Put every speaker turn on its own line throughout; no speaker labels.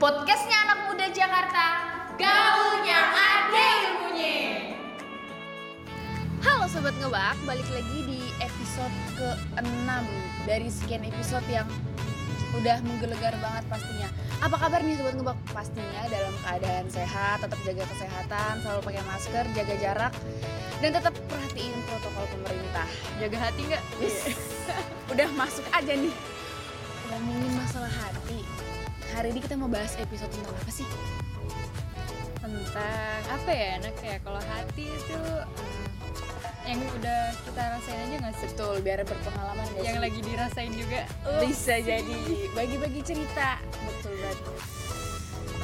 Podcastnya anak muda Jakarta, gaulnya ada ilmunya. Halo sobat ngebak, balik lagi di episode ke-6 dari sekian episode yang udah menggelegar banget pastinya. Apa kabar nih sobat ngebak? Pastinya dalam keadaan sehat, tetap jaga kesehatan, selalu pakai masker, jaga jarak, dan tetap perhatiin protokol pemerintah.
jaga hati nggak?
Wis. udah masuk aja nih ngomongin masalah hati hari ini kita mau bahas episode tentang apa sih
Tentang apa ya enak ya kalau hati itu mm, yang udah kita rasain aja nggak sih?
betul biar berpengalaman gak
Yang
sih?
lagi dirasain juga. Uh,
bisa jadi bagi-bagi cerita betul banget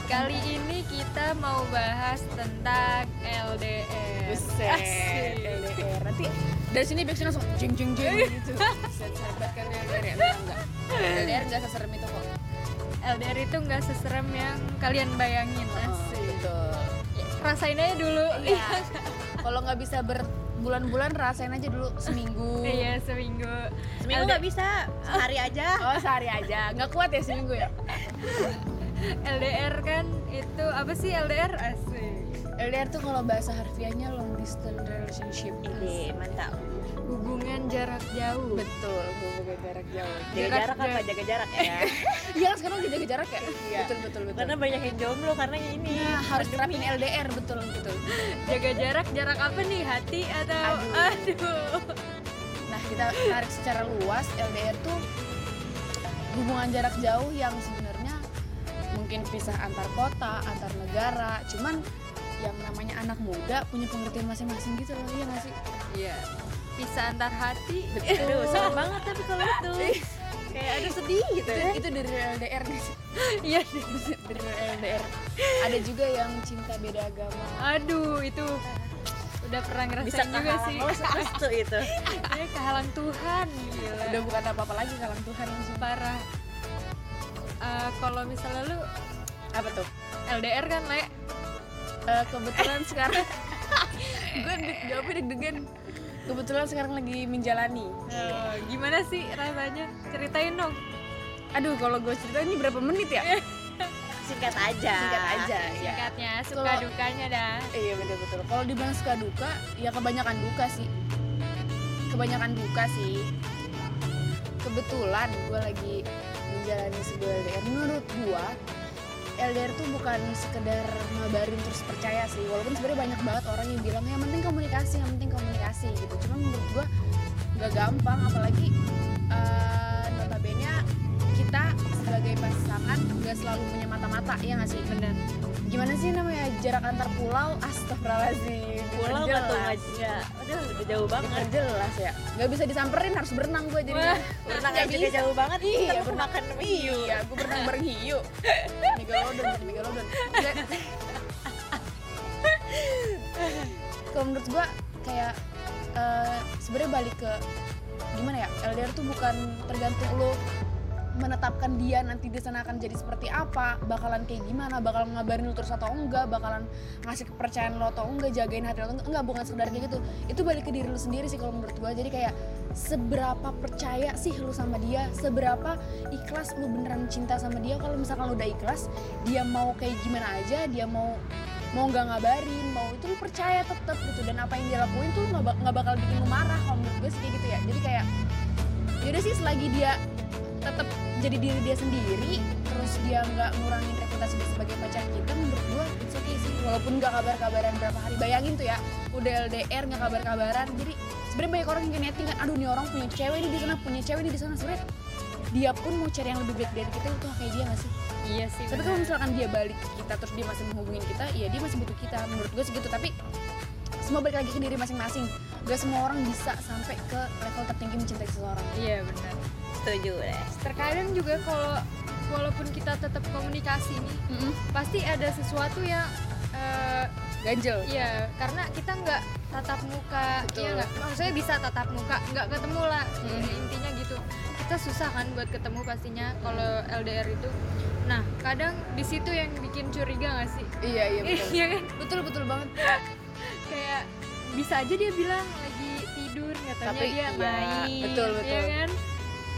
Kali ini kita mau bahas tentang LDR.
Buset,
Asik.
LDR. Nanti dari sini biasanya langsung jeng jeng jeng gitu. Buset, serbat kan LDR ya? Enggak, enggak. LDR enggak seserem itu kok.
LDR itu nggak seserem yang kalian bayangin.
Oh,
Asik.
betul.
Ya, Rasain aja dulu.
Iya. Kalau nggak bisa berbulan-bulan rasain aja dulu seminggu.
Iya seminggu. LDR
Seminggu nggak bisa, sehari aja.
Oh sehari aja, nggak kuat ya seminggu ya?
LDR kan itu apa sih LDR? Asik.
LDR tuh kalau bahasa harfiahnya long distance relationship.
Ide, mantap.
Hubungan jarak jauh.
Iya. Betul, hubungan jarak jauh.
Jaga
Jarak
jarak apa?
jauh.
Jaga jarak ya.
Iya kan sekarang udah jaga jarak ya?
Iya.
Betul betul betul.
karena banyak yang jomblo karena ini.
Nah, harus
pandemi.
terapin LDR betul betul.
Jaga jarak, jarak apa nih? Hati atau
Aduh.
aduh.
Nah kita tarik secara luas LDR tuh hubungan jarak jauh yang sebenarnya mungkin pisah antar kota, antar negara. Cuman yang namanya anak muda punya pengertian masing-masing gitu loh iya nggak sih?
Iya. Bisa antar hati.
Aduh, serem banget tapi kalau itu. Kayak aduh sedih gitu.
Itu- Itu dari LDR nih.
Iya.
Dari LDR. Ada juga yang cinta beda agama.
Aduh, itu udah pernah ngerasain
Bisa
juga
kehalang,
sih.
oh seastu itu.
Iya, kehalang Tuhan. Gila.
udah bukan apa-apa lagi kalang Tuhan langsung
parah. Eh, kalau misalnya lu
apa tuh
LDR kan, Le?
Eh, kebetulan sekarang gue deg jawabnya deg-degan kebetulan sekarang lagi menjalani
Eh, gimana sih rasanya? Ceritain dong.
aduh kalau gue cerita ini berapa menit ya
Singkat aja.
singkat aja ya
Singkatnya, suka
Kalau-
dukanya dah.
iya betul betul kalau dibilang suka duka ya kebanyakan duka sih kebanyakan duka sih kebetulan gue lagi menjalani sebuah LDR menurut gue LDR tuh bukan sekedar ngabarin terus percaya sih walaupun sebenarnya banyak banget orang yang bilang yang penting komunikasi yang penting komunikasi gitu cuman menurut gue nggak gampang apalagi eh, notabene kita sebagai pasangan nggak selalu punya mata-mata ya nggak sih
Bener.
gimana sih namanya jarak antar pulau astagfirullahaladzim
Pulau nggak
Diperjelas.
tuh aja. Aduh, udah jauh banget.
Diperjelas ya nggak bisa disamperin harus berenang gue jadinya
Wah,
Berenang
Nggak
aja juga
bisa.
jauh banget.
Iya,
Iya,
berenang.
makan mie.
iya gue berenang bareng hiu megalodon jadi megalodon Nggak. kalau menurut gue kayak eh, sebenarnya balik ke gimana ya LDR tuh bukan tergantung lo menetapkan dia nanti di sana akan jadi seperti apa bakalan kayak gimana bakalan ngabarin lo terus atau enggak bakalan ngasih kepercayaan lo atau enggak jagain hati lo atau enggak enggak bukan sekedar kayak gitu itu balik ke diri lo sendiri sih kalau menurut gue jadi kayak seberapa percaya sih lo sama dia seberapa ikhlas lo beneran cinta sama dia kalau misalkan lo udah ikhlas dia mau kayak gimana aja dia mau mau nggak ngabarin mau itu lo percaya tetep gitu dan apa yang dia lakuin tuh nggak bak- nggak bakal bikin lo marah kalau menurut gue sih kayak gitu ya jadi kayak yaudah sih selagi dia tetap jadi diri dia sendiri terus dia nggak ngurangin reputasi dia sebagai pacar kita menurut gua it's okay sih walaupun nggak kabar-kabaran berapa hari bayangin tuh ya udah LDR nggak kabar-kabaran jadi sebenarnya banyak orang yang kayak netting kan aduh nih orang punya cewek ini di sana punya cewek ini di sana sebenarnya dia pun mau cari yang lebih baik dari kita itu kayak dia nggak sih
Iya sih.
tapi kalau misalkan dia balik ke kita terus dia masih menghubungin kita ya dia masih butuh kita menurut gue segitu tapi semua balik lagi ke diri masing-masing gak semua orang bisa sampai ke level tertinggi mencintai seseorang
Iya benar.
Setuju
Iya.
deh.
Terkadang juga kalau walaupun kita tetap komunikasi nih, pasti ada sesuatu yang eh,
ganjel
Iya, karena kita nggak tatap muka,
Betul.
iya nggak. Maksudnya bisa tatap muka, nggak ketemu lah.
Hmm.
Intinya gitu. Kita susah kan buat ketemu pastinya kalau LDR itu. Nah, kadang di situ yang bikin curiga nggak sih?
iya iya betul
Iya kan?
betul betul banget
Kayak bisa aja dia bilang lagi tidur, katanya
Tapi
dia
iya,
main,
betul,
iya
betul.
kan?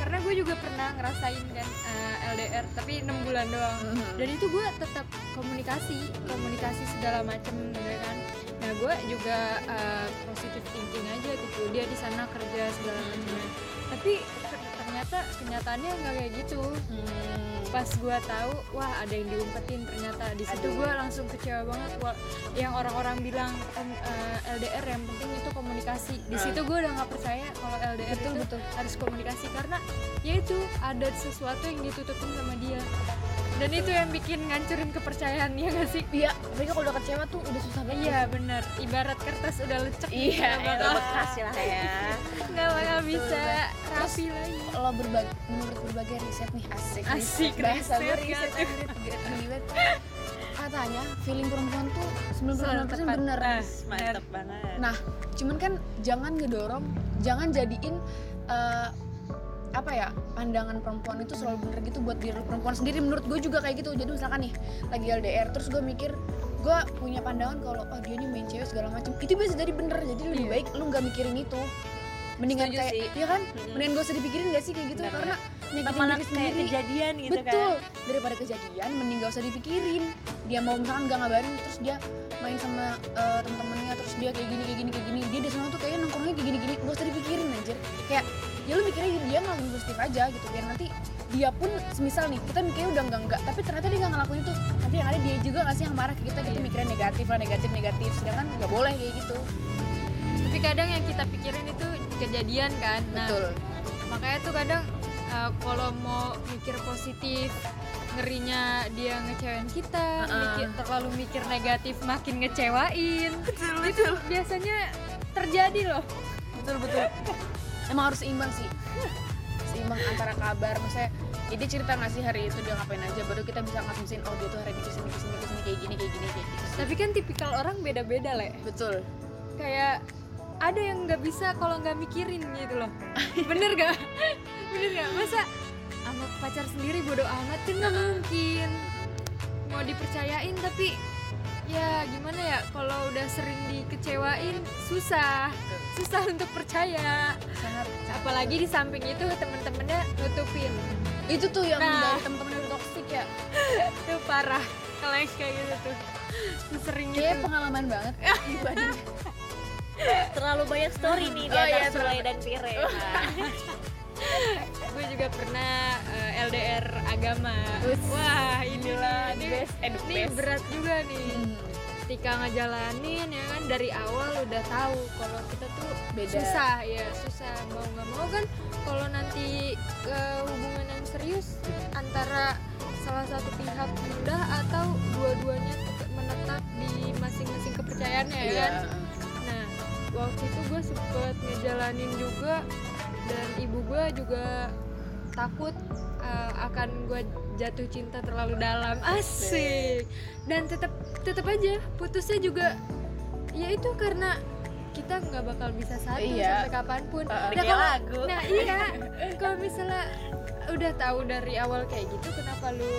karena gue juga pernah ngerasain kan eh, LDR tapi enam bulan doang
Mhm.
dan itu gue tetap komunikasi komunikasi segala macem gitu kan nah gue juga eh, positive thinking aja gitu dia di sana kerja segala macamnya tapi ter- ternyata kenyataannya nggak kayak gitu
hmm,
pas gue tahu wah ada yang diumpetin ternyata di situ
Aduh.
gue langsung kecewa banget Wah, yang orang-orang bilang em, eh, LDR yang penting itu komunikasi di
Ah.
situ gue udah nggak percaya kalau LDR
Betul,
itu
betul.
harus komunikasi karena ya itu ada sesuatu yang ditutupin sama dia dan itu yang bikin ngancurin kepercayaan ya gak sih
Iya, mereka kalau udah kecewa tuh udah susah banget.
iya bener ibarat kertas udah lecek
Iya,
nggak bakal
bekas lah
Iya.
ya.
nggak bakal bisa
betul.
rapi lagi
Kalau berbagi, menurut berbagai riset nih asik.
Asik,
bahasa gue
riset,
riset
kan?
riset, geli banget. Katanya feeling perempuan tuh 99%
Selalu
bener.
tepat.
Mantap banget.
Nah, cuman kan jangan ngedorong, jangan jadiin eh, apa ya pandangan perempuan itu selalu bener gitu buat diri perempuan sendiri menurut gue juga kayak gitu jadi misalkan nih lagi LDR terus gue mikir gue punya pandangan kalau oh dia nih main cewek segala macam itu bisa jadi bener jadi lebih
Iya.
baik lu nggak mikirin itu mendingan
Setuju
kayak
sih.
ya kan
Mm-mm.
mendingan gak usah dipikirin gak sih kayak gitu
Bener,
karena nyakitin
malah
diri
kayak
sendiri
kejadian gitu
betul
kan.
daripada kejadian mending gak usah dipikirin dia mau misalkan gak ngabarin terus dia main sama eh, temen-temennya terus dia kayak gini kayak gini kayak gini dia di sana tuh kayaknya nongkrongnya kayak gini gini gak usah dipikirin anjir kayak ya lu mikirnya dia ngelakuin positif aja gitu biar nanti dia pun semisal nih kita mikirnya udah enggak enggak tapi ternyata dia nggak ngelakuin itu nanti yang ada dia juga nggak sih yang marah ke kita kita
Iya.
mikirnya negatif lah negatif negatif sedangkan nggak boleh kayak gitu
Nah, tapi kadang yang kita pikirin itu kejadian kan nah
betul
makanya tuh kadang uh, kalau mau mikir positif ngerinya dia ngecewain kita
Heeh.
mikir- terlalu mikir negatif makin ngecewain itu biasanya terjadi loh
betul betul emang harus seimbang sih Hmm, seimbang antara kabar maksudnya ya dia cerita nggak sih hari itu dia ngapain aja baru kita bisa ngasumsiin oh dia tuh hari ini kesini kesini kesini kayak gini kayak gini kayak gitu sih.
tapi kan tipikal orang beda-beda le
betul
kayak ada yang nggak bisa kalau nggak mikirin gitu loh bener gak bener gak masa sama pacar sendiri bodoh amat kan nggak mungkin mau dipercayain tapi ya gimana ya kalau udah sering dikecewain susah susah untuk percaya
sangat
apalagi di samping itu temen-temennya nutupin
itu tuh yang
Nah.
dari temen-temen udah toksik ya
itu parah kalau yang kayak gitu tuh sering
dia
gitu
pengalaman banget dibanding
Terlalu banyak story nih di
Oh,
antara
iya,
Sule dan Pire. Nah,
gue juga pernah eh, LDR agama wah inilah ini
best and the
ini
best.
berat juga nih
Hmm,
ketika ngejalanin ya kan dari awal udah tahu kalau kita tuh
Beda.
susah ya susah mau nggak mau kan kalau nanti ke hubungan yang serius antara salah satu pihak mudah atau dua-duanya tetap menetap di masing-masing kepercayaannya ya
iya
kan Nah, waktu itu gue sempet ngejalanin juga dan ibu gue juga takut uh, akan gue jatuh cinta terlalu dalam asik dan tetap tetap aja putusnya juga ya itu karena kita nggak bakal bisa satu
Iya.
sampai kapanpun
Uh-uh.
Nah,
Kayak
kalau-
lagu.
nah iya kalau misalnya udah tahu dari awal kayak gitu kenapa lu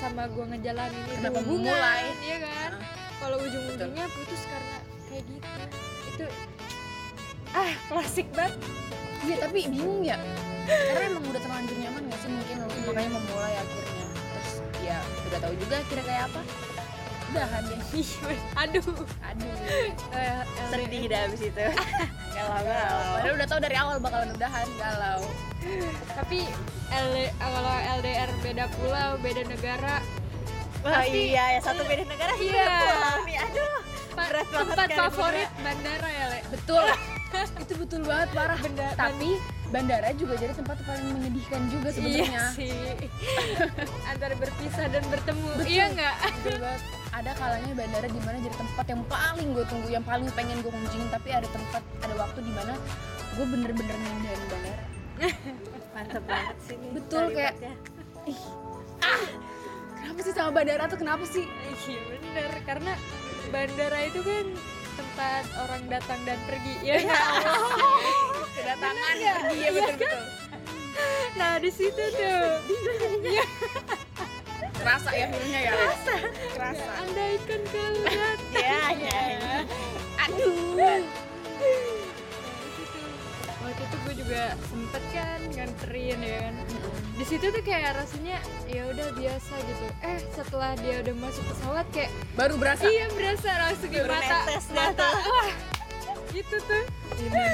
sama gue ngejalanin itu
Kenapa
hubungan
memulai?
iya kan kalau ujung-ujungnya putus karena kayak gitu itu ah klasik banget
Iya, tapi bingung ya karena emang udah terlanjur nyaman gak sih mungkin lu makanya memulai akhirnya terus ya udah tahu juga kira kayak apa udahan deh
aduh
aduh
Eh,
Sering
LDR.
dihidup abis itu. Galau, galau.
Padahal udah tau dari awal bakalan udahan galau.
tapi L- kalau LDR beda pulau beda negara
Wah
Pasti-
iya, ya satu beda negara
Iya.
iya. pulau nih. Aduh,
pa-
Berat banget
tempat
kan,
favorit bandara ya le
Betul. itu betul banget parah.
Benda-
Tapi bandara juga jadi tempat paling menyedihkan juga
iya
sebenarnya.
sih antara berpisah dan bertemu
Betul.
iya nggak
Betul banget. Ada kalanya bandara di mana jadi tempat yang paling gue tunggu, yang paling pengen gue kunjungin. Tapi ada tempat, ada waktu di mana gue bener-bener ngindarin bandara.
mantep banget sih nih.
Betul, kayak-
kalimatnya.
Kenapa sih sama bandara tuh kenapa sih?
Iya bener, karena bandara itu kan tempat orang datang dan pergi ya nggak?
Kedatangan pergi ya betul-betul.
Nah di situ tuh
Kerasa ya feelnya ya. Kerasa. Kerasa.
andaikan kau datang
Ya,
ya.
ya.
Aduh. Nah, di situ. Waktu itu gue aku juga sempet kan nganterin ya kan di situ tuh kayak rasanya ya udah biasa gitu eh setelah dia udah masuk pesawat kayak
baru berasa
iya berasa langsung di
Baru
mata
netes dah
mata wah gitu tuh bener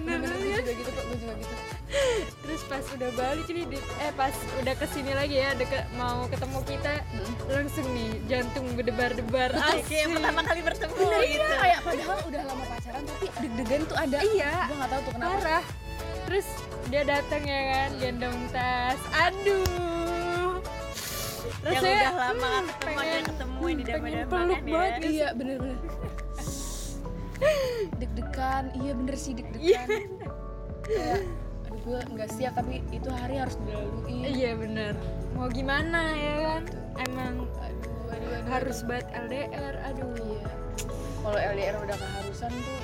bener gue
ya
juga gitu kok gue juga gitu
terus pas udah balik ini di- eh pas udah kesini lagi ya deket mau ketemu kita
Mm.
langsung nih jantung berdebar-debar
Hmm. Oke, yang pertama kali bertemu
iya
gitu.
kayak padahal udah lama pacaran tapi deg-degan tuh ada
Iya.
gue nggak tahu tuh kenapa
parah terus dia datang ya kan gendong tas aduh
Yang
Rasanya,
udah lama
hmm,
nggak ketemu, akhirnya
pengen-
ketemu di
hmm, pengen
dama-damakan
peluk
ya.
banget gitu.
iya bener-bener deg-degan iya bener sih
Iya.
deg-degan kayak aduh gue nggak siap tapi itu hari harus
ya.
dilalui
iya bener mau gimana ya kan emang
aduh aduh aduh
harus buat LDR aduh
iya kalau LDR udah keharusan tuh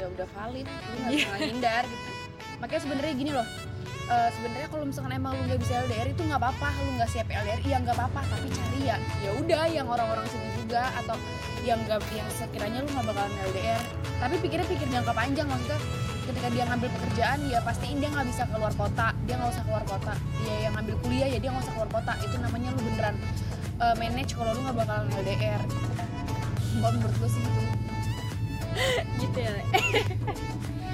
ya udah valid lu nggak bisa ngindar gitu makanya sebenarnya gini loh eh, sebenarnya kalau misalkan emang lu nggak bisa LDR itu nggak apa-apa lu nggak siap LDR ya nggak apa-apa tapi cari ya ya udah yang orang-orang sedih juga atau yang nggak yang sekiranya lu nggak bakalan LDR tapi pikirnya pikir jangka panjang maksudnya ketika dia ngambil pekerjaan ya pastiin dia nggak bisa keluar kota dia nggak usah keluar kota dia yang ngambil kuliah ya dia nggak usah keluar kota itu namanya lu beneran eh, manage kalau lu nggak bakalan LDR kalau menurut gue sih gitu
gitu ya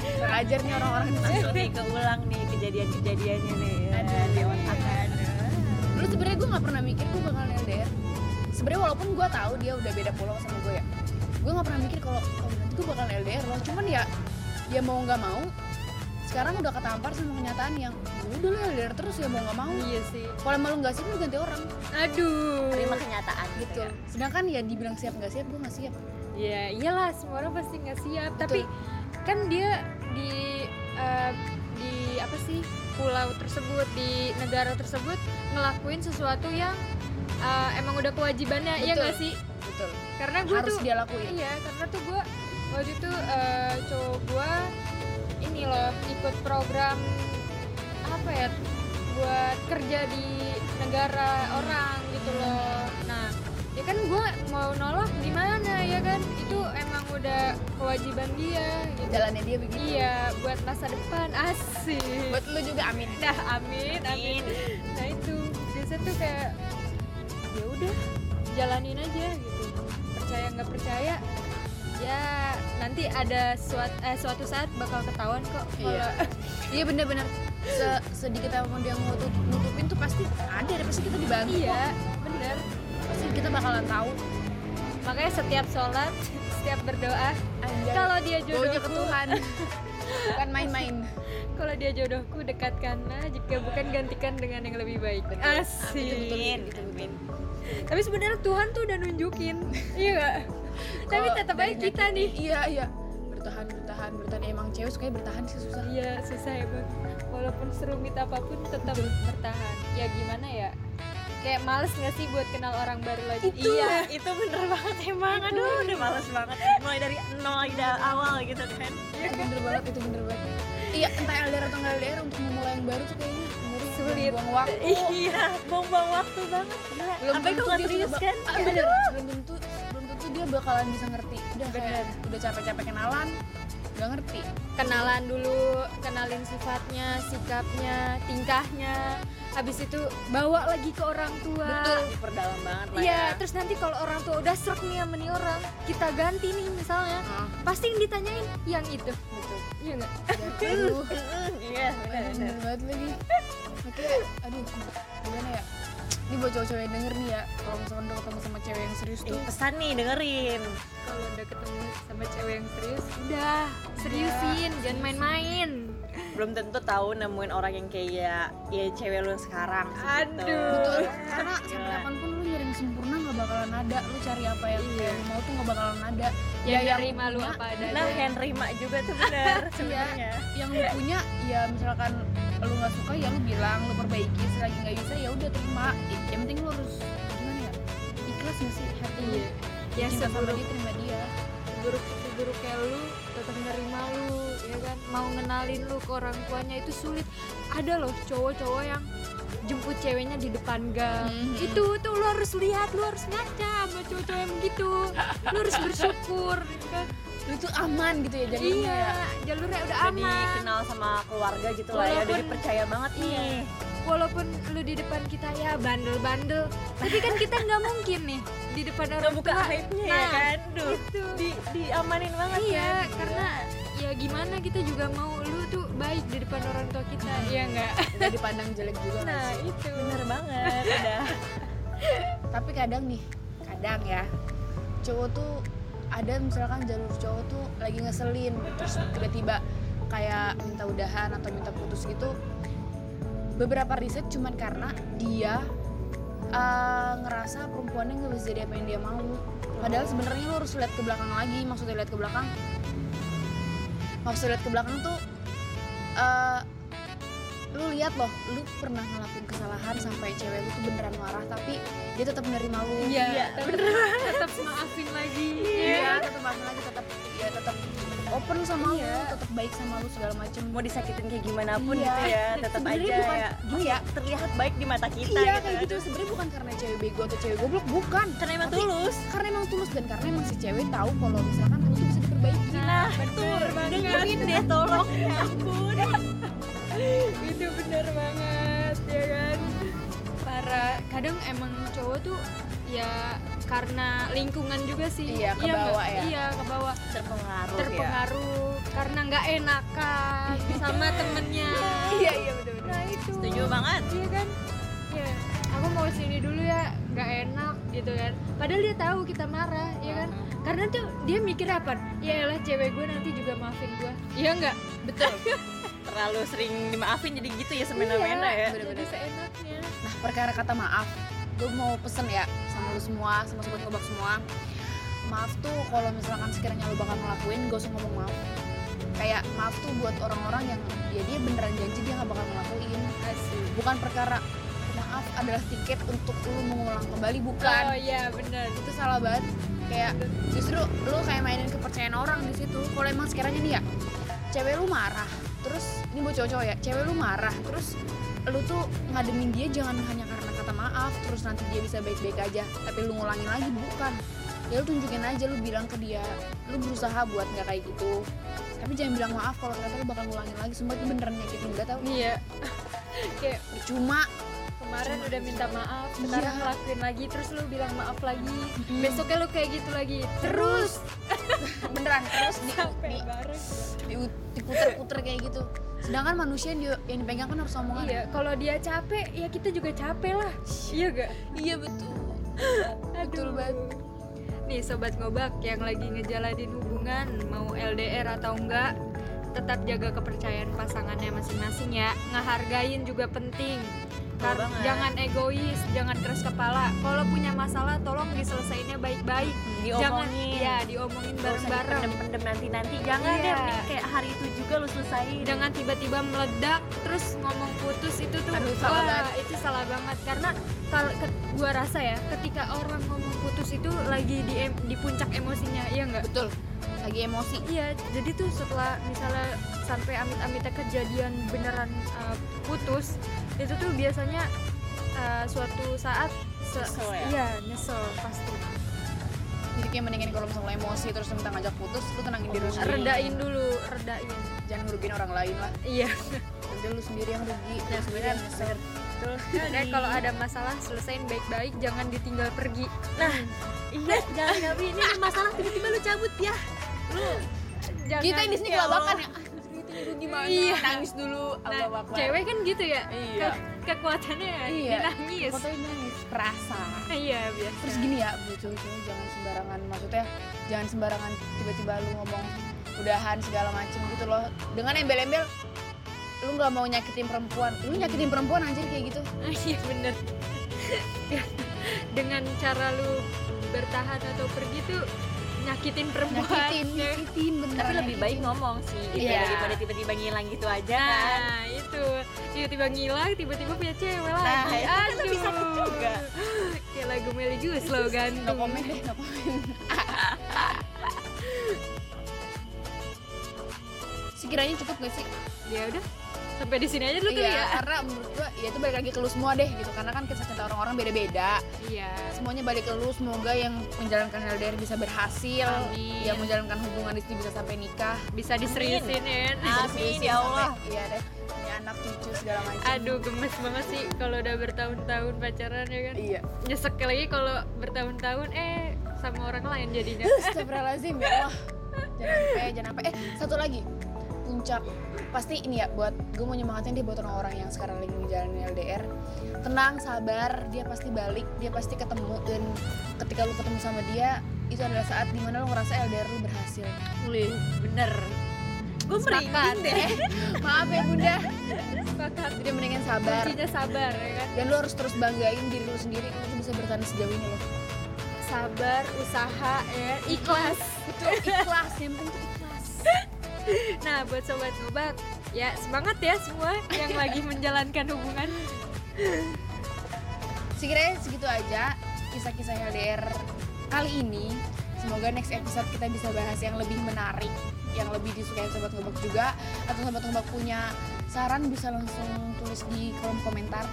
Kurang ajar nih orang-orang di
Langsung
sana
nih keulang nih kejadian-kejadiannya nih. ya,
Aduh.
di otak kan.
Dulu sebenarnya gue nggak pernah mikir gue bakal LDR sebenarnya walaupun gue tahu dia udah beda pulau sama gue ya Gue nggak pernah mikir kalau kalau nanti gue bakal LDR loh Cuman ya, ya mau nggak mau Sekarang udah ketampar sama kenyataan yang "Ya Udah lu LDR terus ya mau nggak mau
iya sih
Kalau emang lu nggak siap, lu ganti orang
aduh
Terima kenyataan gitu.
Gitu
ya.
Sedangkan ya dibilang siap nggak siap, gue nggak siap
ya iyalah semua orang pasti nggak siap tapi kan dia di eh, di apa sih pulau tersebut di negara tersebut ngelakuin sesuatu yang eh, emang udah kewajibannya ya
Betul.
nggak sih
Betul
karena gue
Harus
tuh
dia lakuin
iya karena tuh gue waktu itu eh, cowok gue ini loh ikut program apa ya buat kerja di negara orang gitu loh nah ya kan gue mau nolak gimana ya kan itu emang udah kewajiban dia gitu
Jalannya dia begitu
iya buat masa depan asik
Buat lu juga amin
Nah, amin, amin. Nah itu biasa tuh kayak ya udah jalanin aja gitu. Percaya nggak percaya, ya nanti ada suat, eh, suatu saat bakal ketahuan kok. kalau-
Iya. Iya bener-bener Se- sedikit apapun dia mau tut- nutupin tuh pasti ada, ada pasti kita dibantu
iya, bener.
kok. pasti kita bakalan tahu.
Makanya setiap sholat, setiap berdoa,
Anjay,
kalau dia
Iya. baunya ke
jodohku,
Tuhan, bukan main-main.
kalau dia jodohku dekatkanlah jika bukan gantikan dengan yang lebih baik. Asik.
Amin, amin.
Tapi sebenarnya Tuhan tuh udah nunjukin, iya nggak? Tapi
Kalau
tetap
dari
aja kita
nyakitin,
nih
Iya iya bertahan bertahan bertahan emang cewek sukanya bertahan sih susah.
Iya susah ya bang. Walaupun serumit apapun tetap bertahan. Ya gimana ya? Kayak males nggak sih buat kenal orang baru lagi?
Iya, itu bener banget emang. Aduh, udah males banget. Mulai dari nol lagi dari awal gitu kan.
Iya
Itu bener banget itu bener banget. Iya entah LDR atau nggak LDR untuk memulai yang baru tuh kayaknya ngeri,
Sulit.
buang waktu.
Iya, buang-buang waktu banget. Nah, sampai
tentu
kok nggak
dia
serius
juga-
kan?
Ah, bener. Belum tentu belum tentu dia bakalan bisa ngerti. Udah kayak udah capek-capek kenalan nggak ngerti.
Kenalan dulu, kenalin sifatnya, sikapnya, tingkahnya. Habis itu bawa lagi ke orang tua.
Betul.
Diperdalam banget lah ya.
Iya, terus nanti kalau orang tua udah serak nih sama nih orang, kita ganti nih misalnya.
Ah,
Pasti yang ditanyain yang itu.
betul.
Iya nggak?
Dan, aduh,
Mm-mm, Iya, bener-bener.
bener banget lagi. Oke, aduh, gimana ya? Ini buat cowok-cowok yang denger nih ya, kalau misalkan udah ketemu sama cewek yang serius
Ini
tuh,
Iya,
Iya.
pesan nih dengerin.
Kalau udah ketemu sama cewek yang serius, Iya. udah seriusin, jangan main-main.
Belum tentu tahu nemuin orang yang kayak ya cewek lu yang sekarang. sih, gitu.
Aduh.
betul. Karena sampai
Gila.
kapanpun lu nyari yang sempurna nggak bakalan ada. Lu cari apa yang
Iya.
lu mau tuh nggak bakalan ada.
ya,
yang
dari malu
punya- iya.
apa adanya
Nah, Henry mak juga tuh bener sebenarnya.
Yang lu punya, ya misalkan lu nggak suka ya lu bilang, lu perbaiki. Selagi nggak bisa ya udah terima. Eh, Yang penting lu harus gimana ya? Ikhlas nggak sih hati?
Iya. ya
Cinta sama
seburuk
dia terima dia.
buruk buruk kayak lu tetap nerima lu ya kan mau ngenalin lu ke orang tuanya itu sulit ada loh cowok-cowok yang jemput ceweknya di depan gang
Mm-hmm.
Mhm.
itu tuh lo harus lihat lo harus ngaca sama cowok-cowok yang gitu lo harus bersyukur gitu kan
lu tuh aman gitu ya jadinya
iya
ya
jalurnya udah
Udah
aman
dikenal sama keluarga gitu lah ya, udah
Walaupun-
dipercaya banget
Iya.
nih.
walaupun lu di depan kita ya bandel-bandel tapi kan kita nggak mungkin nih di depan orang
Ngebuka
tua
aibnya ya
Nah,
kan, duh.
itu.
Di, diamanin banget
iya
kan.
karena ya gimana kita juga mau lu tuh baik di depan orang tua kita ya enggak
Iya Nggak dipandang jelek juga nggak
Nah
sih?
itu bener banget udah.
tapi kadang nih kadang ya cowok tuh ada misalkan jalur cowok tuh lagi ngeselin terus tiba-tiba kayak minta udahan atau minta putus gitu beberapa riset cuman karena dia eh, ngerasa perempuannya nggak bisa jadi apa yang dia mau padahal sebenarnya lu harus lihat ke belakang lagi maksudnya lihat ke belakang maksudnya lihat ke belakang tuh eh, lu lihat loh lu pernah ngelakuin kesalahan sampai cewek lu tuh beneran marah tapi dia tetap menerima lu
Iya,
tapi tetap maafin lagi
Iya, tetap maafin lagi tetap ya tetap open sama
Iya.
lu tetap baik sama lu segala macam
Mau disakitin kayak gimana pun
Iya.
gitu ya, tetap
Sebenarnya
aja
bukan-
ya. Oh ya, terlihat baik di mata kita
iya kayak
gitu. kan.
gitu sebenarnya bukan karena cewek bego atau cewek goblok bukan
Karena emang
Tapi-
tulus.
karena emang tulus dan karena emang si cewek tahu kalau misalkan lu tuh bisa diperbaiki
Nah, betul. Dengerin deh tolong ya ampun.
Nah,
itu bener banget ya kan para kadang emang cowok tuh ya karena lingkungan juga sih
Iya, kebawa
nggak?
ya.
iya kebawa
Terpengaruh, ya.
terpengaruh karena nggak enakan sama temennya
iya iya betul betul
nah itu
Setuju banget.
iya kan ya aku mau sini dulu ya nggak enak gitu kan padahal dia tahu kita marah ya kan karena tuh dia mikir apa ya elah cewek gue nanti juga maafin gue iya nggak
betul
Terlalu sering dimaafin jadi gitu ya semena-mena
Iya,
ya.
jadi seenaknya
Nah, perkara kata maaf, gue mau pesen ya sama lu semua, sama sobat kobak semua. Maaf tuh kalau misalkan sekiranya lu bakal ngelakuin, gak usah ngomong maaf. Kayak maaf tuh buat orang-orang yang ya dia beneran janji dia gak bakal ngelakuin. Bukan perkara maaf adalah tiket untuk lu mengulang kembali, bukan.
Oh iya benar.
Itu salah banget. Kayak justru lu kayak mainin kepercayaan orang di situ. Kalau emang sekiranya nih ya, cewek lu marah, terus ini buat cowok-cowok ya, cewek lu marah, terus lu tuh ngademin dia jangan hanya karena kata maaf terus nanti dia bisa baik-baik aja tapi lu ngulangin lagi bukan ya lu tunjukin aja lu bilang ke dia lu berusaha buat nggak kayak gitu tapi jangan bilang maaf kalau ternyata lu bakal ngulangin lagi sumpah itu beneran nyakitin gak tau
Iya. Kayak
cuma
kemarin udah minta maaf,
Iya.
sekarang ngelakuin lagi, terus lu bilang maaf lagi,
Mm.
besoknya lu kayak gitu lagi, terus
beneran terus di,
sampai
di,
bareng.
di- diputer-puter kayak gitu sedangkan manusia yang, di- yang dipegang kan harus omongan
Iya, kalau dia capek, ya kita juga capek lah. Iya gak?
iya betul Betul banget.
Nih sobat ngobak yang lagi ngejalanin hubungan, mau LDR atau enggak, tetap jaga kepercayaan pasangannya masing-masing ya. Ngehargain juga penting. Kar-
banget.
jangan egois, jangan keras kepala. Kalau punya masalah tolong diselesainnya baik-baik. Jangan
Diomongin.
ya diomongin
Nggak usah
bareng-bareng.
dipendem-pendem nanti-nanti. Jangan deh,
Iya.
mending kayak hari itu juga lu selesaiin. Nah,
Jangan tiba-tiba meledak terus ngomong putus itu tuh
Aduh, salah
wah,
banget.
itu salah banget karena kalau ke- gua rasa ya ketika orang ngomong putus itu lagi di em- di puncak emosinya iya enggak?
betul lagi emosi
Iya, jadi tuh setelah misalnya sampai amit-amitnya kejadian beneran uh, putus, itu tuh biasanya uh, suatu saat se-
Nyesel ya?
Iya, nyesel pasti.
jadi kayak mendingan kalau misalnya lo emosi terus lo minta ngajak putus lu tenangin diri lu sendiri
Redain dulu, redain.
jangan ngerugin orang lain lah
Iya.
nanti lu sendiri yang rugi
Nah,
lu sendiri yang
bener,
nyesel
Betul
Dan kalau ada masalah selesain baik-baik, jangan ditinggal pergi.
Nah, iya jangan tapi ini ada masalah tiba-tiba lu cabut ya.
Jangan-
kita di sini
Ya Allah.
kelabakan ya ah, gitu, gitu, gimana
Iya.
nangis dulu
Nah,
Allah Akbar.
cewek kan gitu ya.
Iya.
ke- kekuatannya ya,
Iya.
nangis.
Fotonya nangis perasa
Iya, biasa.
terus gini ya buat cowok-cowok jangan sembarangan maksudnya jangan sembarangan tiba-tiba lu ngomong udahan segala macem gitu loh dengan embel-embel lu nggak mau nyakitin perempuan lu nyakitin perempuan anjir kayak gitu
Ah, Iya bener Ya, Dengan cara lu bertahan atau pergi tuh nyakitin perempuan
nyakitin
ya.
nyakitin beneran
Tapi lebih baik
nyakitin.
ngomong sih gitu
Iya.
daripada tiba-tiba ngilang gitu aja.
Nah itu Tiba-tiba ngilang, tiba-tiba punya cewek
Nah,
lagi
itu kan lebih
Aduh.
sakit juga.
Kayak lagu kan. Meli Jus lo
no
gantung
comment deh no comment sekiranya cukup gak sih
Ya udah sampai di sini aja dulu kali
iya,
ya
karena menurut gua ya itu balik lagi ke lu semua deh gitu karena kan kisah cinta orang-orang beda-beda
iya
semuanya balik ke lu semoga yang menjalankan LDR bisa berhasil
Amin.
yang menjalankan hubungan itu bisa sampai nikah
bisa diseriusin ya
Amin ya Allah.
Sampai- iya deh punya anak cucu segala macam
aduh gemes banget sih kalau udah bertahun-tahun pacaran ya kan
iya
nyesek lagi kalau bertahun-tahun eh sama orang lain jadinya
Astagfirullahaladzim ya Allah Jangan sampai, jangan sampai Eh satu lagi Puncak Pasti ini ya buat Gue mau nyemangatin dia buat orang-orang yang sekarang lagi menjalani LDR Tenang, sabar Dia pasti balik, dia pasti ketemu Dan ketika lu ketemu sama dia Itu adalah saat dimana lu ngerasa LDR lu berhasil
Wih, bener
Gue merinding
Sepakat.
deh.
Maaf ya bunda
sepakat
Jadi mendingan sabar
kuncinya sabar ya kan
Dan lu harus terus banggain diri lu sendiri Lu tuh bisa bertahan sejauh ini loh
sabar usaha ya ikhlas
Itu ikhlas, yang penting tuh ikhlas
nah buat sobat sobat ya semangat ya semua yang lagi menjalankan hubungan
Sekiranya segitu aja kisah-kisah LDR kali ini. Semoga next episode kita bisa bahas yang lebih menarik, yang lebih disukai sobat ngobrol juga. Atau sobat ngobrol punya saran bisa langsung tulis di kolom komentar.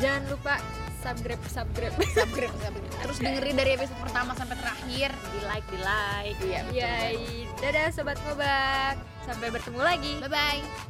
jangan lupa subscribe subscribe
Subscribe, subscribe. Terus dengerin dari episode pertama sampai terakhir.
Di like, di like.
Iya. betul.
Yai, dadah sobat mobak sampai bertemu lagi
Bye bye.